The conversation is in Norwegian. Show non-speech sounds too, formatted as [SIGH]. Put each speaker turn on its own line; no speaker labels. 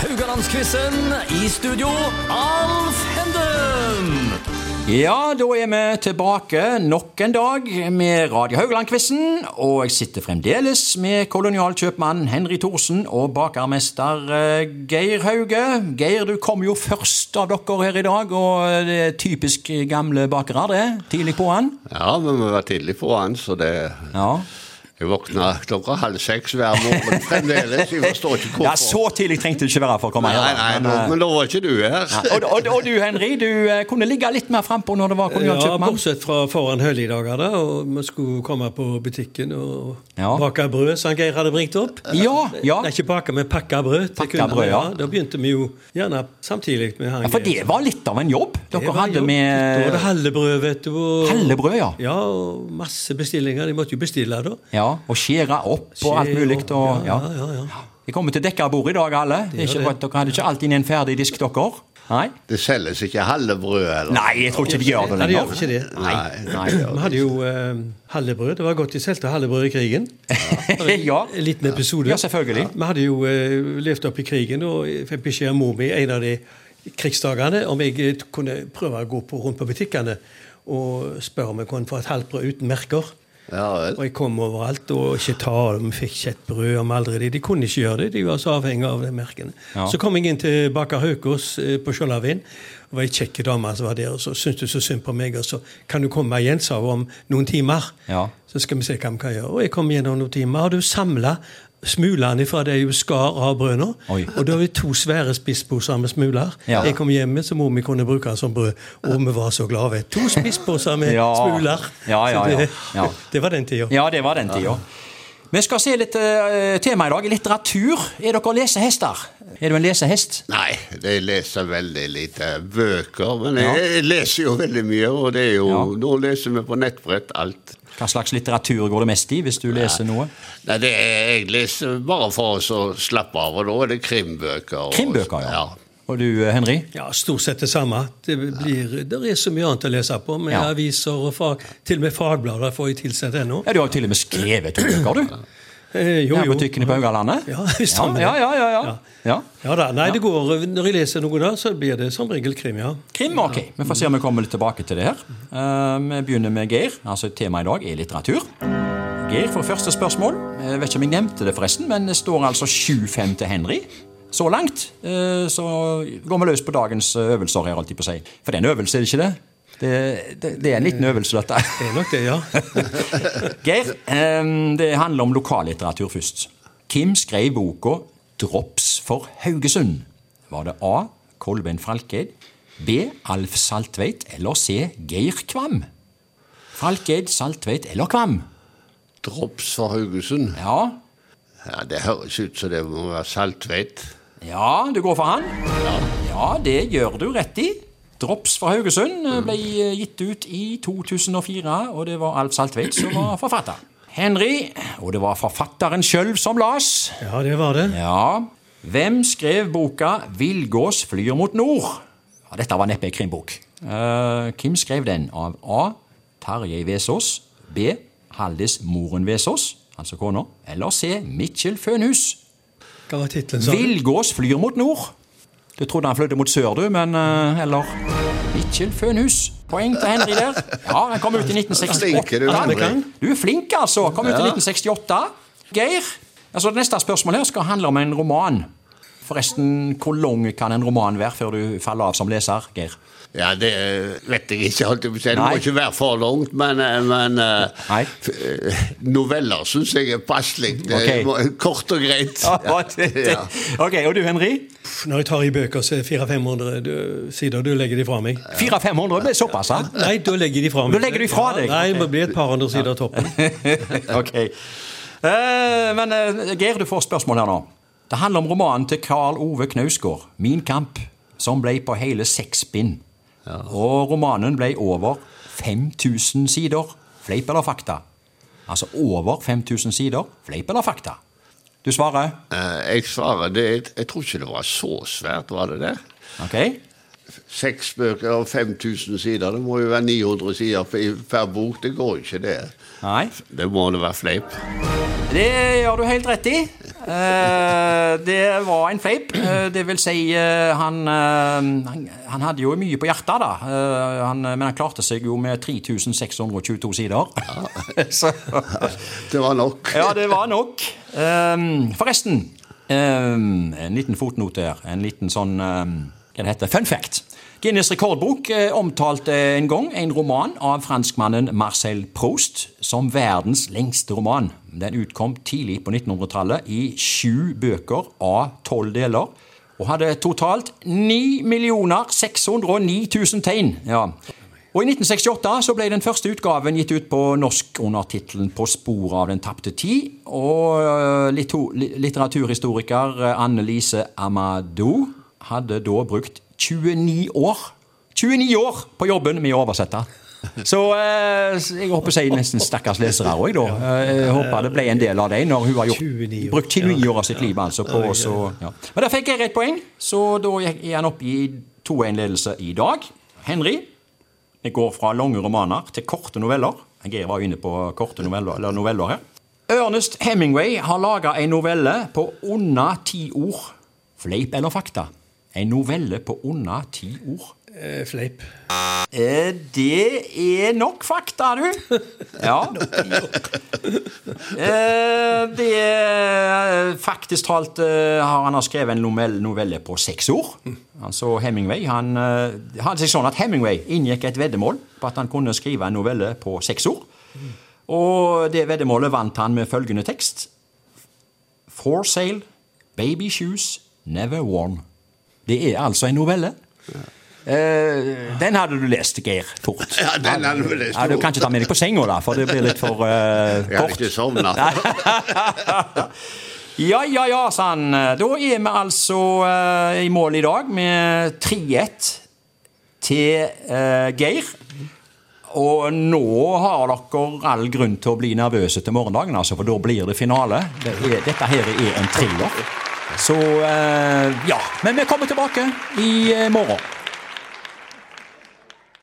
Haugalandsquizen. I studio, Alf Henden.
Ja, da er vi tilbake nok en dag med Radio Haugland-quizen. Og jeg sitter fremdeles med kolonialkjøpmann Henry Thorsen og bakermester eh, Geir Hauge. Geir, du kom jo først av dere her i dag, og det er typisk gamle bakere, det. Tidlig på'n.
Ja, men vi var tidlig på han, så det
Ja.
Jeg våkna klokka halv seks hver morgen fremdeles. Jeg forstår ikke hvorfor.
ja, så tidlig trengte du ikke være for å komme
Nei,
her. da,
nei, nei,
men,
nå,
eh,
men da var ikke du her.
og, og, og du, Henry, du eh, kunne ligge litt mer frampå når det var
Ja,
kolonialkjøpmann.
bortsett fra foran høyligdager, da. Og vi skulle komme på butikken og
Ja.
bake brød, som Geir hadde bringt opp.
Ja, ja.
Nei, ikke bake, men pakke brød. til
Pakke
kundene,
brød, ja.
Da begynte vi jo gjerne samtidig med han
Ja, for det var litt av en jobb
Det
dere
var
hadde
jobb. Da var
med
det hallebrød, vet du. Og,
Hallebrød, ja.
Ja, og masse bestillinger. De måtte jo bestille, da.
Ja, og skjære opp og alt
Skje
mulig.
opp,
Og, ja.
ja, ja, ja.
Vi kommer til dekka bord i dag, alle. Det er ikke
det.
godt, Dere hadde ikke alltid en ferdig disk, dere? Nei?
Det selges ikke halve brød, eller?
Nei, jeg tror ikke de gjør det
Nei, de gjør
lenger.
ikke det.
Nei.
Nei.
Vi hadde jo eh, hallebrød. Det var godt de solgte hallebrød i krigen.
[LAUGHS] Ja.
En liten episode.
Ja, selvfølgelig.
Vi hadde jo eh, levd opp i krigen, og jeg fikk beskjed av mor mi en av de krigsdagene om jeg eh, kunne prøve å gå på, rundt på butikkene og spørre om jeg kunne få et halvt brød uten merker.
Ja vel.
Og jeg kom overalt og ikke ta dem, fikk ikke et brød om aldri det. De kunne ikke gjøre det, de var så avhengig av de merkene.
Ja.
Så kom jeg inn til baker Haukås eh, på Skjoldhavin. Det var ei kjekk dame som var der, og så syntes hun så synd på meg. Og så kan du komme igjen, sa hun, om noen timer.
Ja.
Så skal vi se hva vi kan gjøre. Og jeg kom igjen om noen timer. Har du samla smulene fra det hun skar av brødet nå?
Oi.
Og da har vi to svære spissposer med smuler.
Ja.
Jeg kom hjemme så mor mi kunne bruke den som brød, og vi var så glade. To spissposer med
Ja.
smuler.
Ja, ja,
Så
ja.
det,
Ja.
det var den tida.
Ja, det var den tida. Vi skal se litt eh, tema i dag. Litteratur. Er dere lesehester? Er du en lesehest?
Nei, jeg leser veldig lite bøker. Men jeg, jeg leser jo veldig mye, og det er jo
Ja.
Nå leser vi på nettbrett alt.
Hva slags litteratur går det mest i, hvis du leser noe?
Nei, det er, Jeg leser bare for å så slappe av, og da er det krimbøker. og-
Krimbøker, ja. Og du, eh, Henry?
Ja, Stort sett det samme. Det blir, der er så mye annet å lese på, med
Ja.
aviser og fag, til og med fagblader får jeg tilsendt ennå.
Ja, Du har jo til og med skrevet to bøker, du.
Eh, jo,
Her
jo.
på butikkene på Haugalandet.
Ja, [LAUGHS] stemmer det.
Ja, ja, ja, ja.
Ja.
ja.
Ja da, nei, det går, Når jeg leser noe, da, så blir det som regel krim, ja.
Krim, ok. Vi får se om vi kommer litt tilbake til det her. Eh, Vi begynner med Geir. Altså Temaet i dag er litteratur. Geir får første spørsmål. Jeg vet ikke om jeg nevnte det, forresten, men det står altså 7-5 til Henry. Så langt. Eh, Så går vi løs på dagens øvelser her, holdt jeg på å si. For det er en øvelse, er det ikke det? Det, det, det er en liten øvelse, dette.
Det er nok det,
[LAUGHS]
ja.
Geir, eh, det handler om lokallitteratur først. Hvem skrev boka 'Drops for Haugesund'? Var det A. Kolbein Falkeid, B. Alf Saltveit eller C. Geir Kvam? Falkeid, Saltveit eller Kvam?
Drops for Haugesund.
Ja,
Ja, Det høres ut som det må være Saltveit.
ja du går for han. Ja, det gjør du rett i. 'Drops for Haugesund' eh, ble eh, gitt ut i 2004, og det var Alf Saltveit som var forfatter. Henry, og det var forfatteren sjøl som las.
Ja, Det var det.
Ja. Hvem skrev boka 'Villgås flyr mot nord'? Ja, dette var neppe en krimbok. Eh, hvem skrev den? Av A. Tarjei Vesaas. B. Haldis Moren Vesaas, altså kona. Eller C. Mitchell Fønhus.
Hva var tittelen, sa du?
Villgås flyr mot nord. Du trodde han fløyde mot sør, du, men eh, Eller Mitchell Fønhus. Poeng til Henry der. Ja, Han kom ut i
Flinke du, Henry.
1968. Du er flink, altså. Kom ut i 1968. Geir, altså det neste spørsmålet her skal handle om en roman. Forresten, hvor lang kan en roman være før du faller av som leser, Geir?
Ja, det eh, vet jeg ikke. Holdt jeg på å si. Det må
Nei.
ikke være for langt, men, eh, men eh,
Nei.
f- eh, noveller syns jeg er passelig. Det
Ok.
må- Kort og
[LAUGHS]
greit. Ja.
Ok, og du, Henry?
Pff, Når jeg tar i bøker, så er det 400-500 du- sider. Da legger de fra meg.
400-500 ble såpass, ha?
Nei, da legger de fra meg.
Da legger de fra deg.
Ja, nei, det blir et par hundre sider toppen.
[LAUGHS] ok. Eh, men eh, Geir, du får spørsmål her nå. Det handler om romanen til Karl Ove Knausgård, 'Min kamp', som ble på hele seks bind. Og romanen ble over 5000 sider. Fleip eller fakta? Altså over 5000 sider. Fleip eller fakta? Du svarer
Eh, Jeg svarer det. Jeg- Jeg tror ikke det var så svært, var det det?
OK?
Seks bøker og 5000 sider. Det må jo være 900 sider per- per bok. Det går jo ikke, det.
Nei.
Det må det være fleip.
Det gjør du helt rett i. Eh, det var en fleip. Eh, det vil si, eh, han, eh, han, han hadde jo mye på hjertet, da. Eh, han, men han klarte seg jo med 3622 sider. Så,
Det var nok.
ja, det var nok. Eh, forresten, eh, en liten fotnote her. En liten sånn eh, Hva det heter Fun fact. Guinness rekordbok eh, omtalte en gang en roman av franskmannen Marcel Proust som verdens lengste roman. Den utkom tidlig på 1900-tallet i sju bøker av tolv deler. Og hadde totalt 9 609 000 tegn. Ja. Og I 1968 så ble den første utgaven gitt ut på norsk under tittelen 'På sporet av den tapte tid'. Og eh, lito- li- litteraturhistoriker eh, Anne Lise Amadou hadde da brukt 29 år 29 år på jobben med å oversette. Så eh, s- jeg håper jeg nesten stakkars lesere òg, da. Eh, Jeg håper det ble en del av dem når hun har gjort,
29 år.
brukt 29 år av sitt liv altså, på å så ja. Men der fikk jeg rett poeng, så da gikk- er han opp i 2-1-ledelse i dag. Henry det går fra lange romaner til korte noveller. Geir var jo inne på korte noveller, eller noveller her. Ernest Hemingway har laga en novelle på under ti ord. Fleip eller fakta? En novelle på under ti ord.
Eh, fleip.
Eh, det er nok fakta, du. Ja. [LAUGHS] Eh, det er Faktisk talt eh, har han har skrevet en novell- novelle på seks ord. Altså Hemingway han eh, det hadde seg sånn at Hemingway inngikk et veddemål på at han kunne skrive en novelle på seks ord. Og det veddemålet vant han med følgende tekst. For sale, baby shoes, never worn. Det er altså en novelle. Eh, den hadde du lest, Geir, fort.
Ja, den hadde du lest
Ja, du
fort.
kan ikke ta med deg på senga, da, for det blir litt for eh,
Jeg hadde
kort.
ikke sovna.
Ja, ja, ja, sa han. Da er vi altså eh, i mål i dag med 3-1 til eh, Geir. Og nå har dere all grunn til å bli nervøse til morgendagen, altså, for da blir det finale. Det er, dette her er en thriller. Så eh, ja. Men vi kommer tilbake i eh, morgen.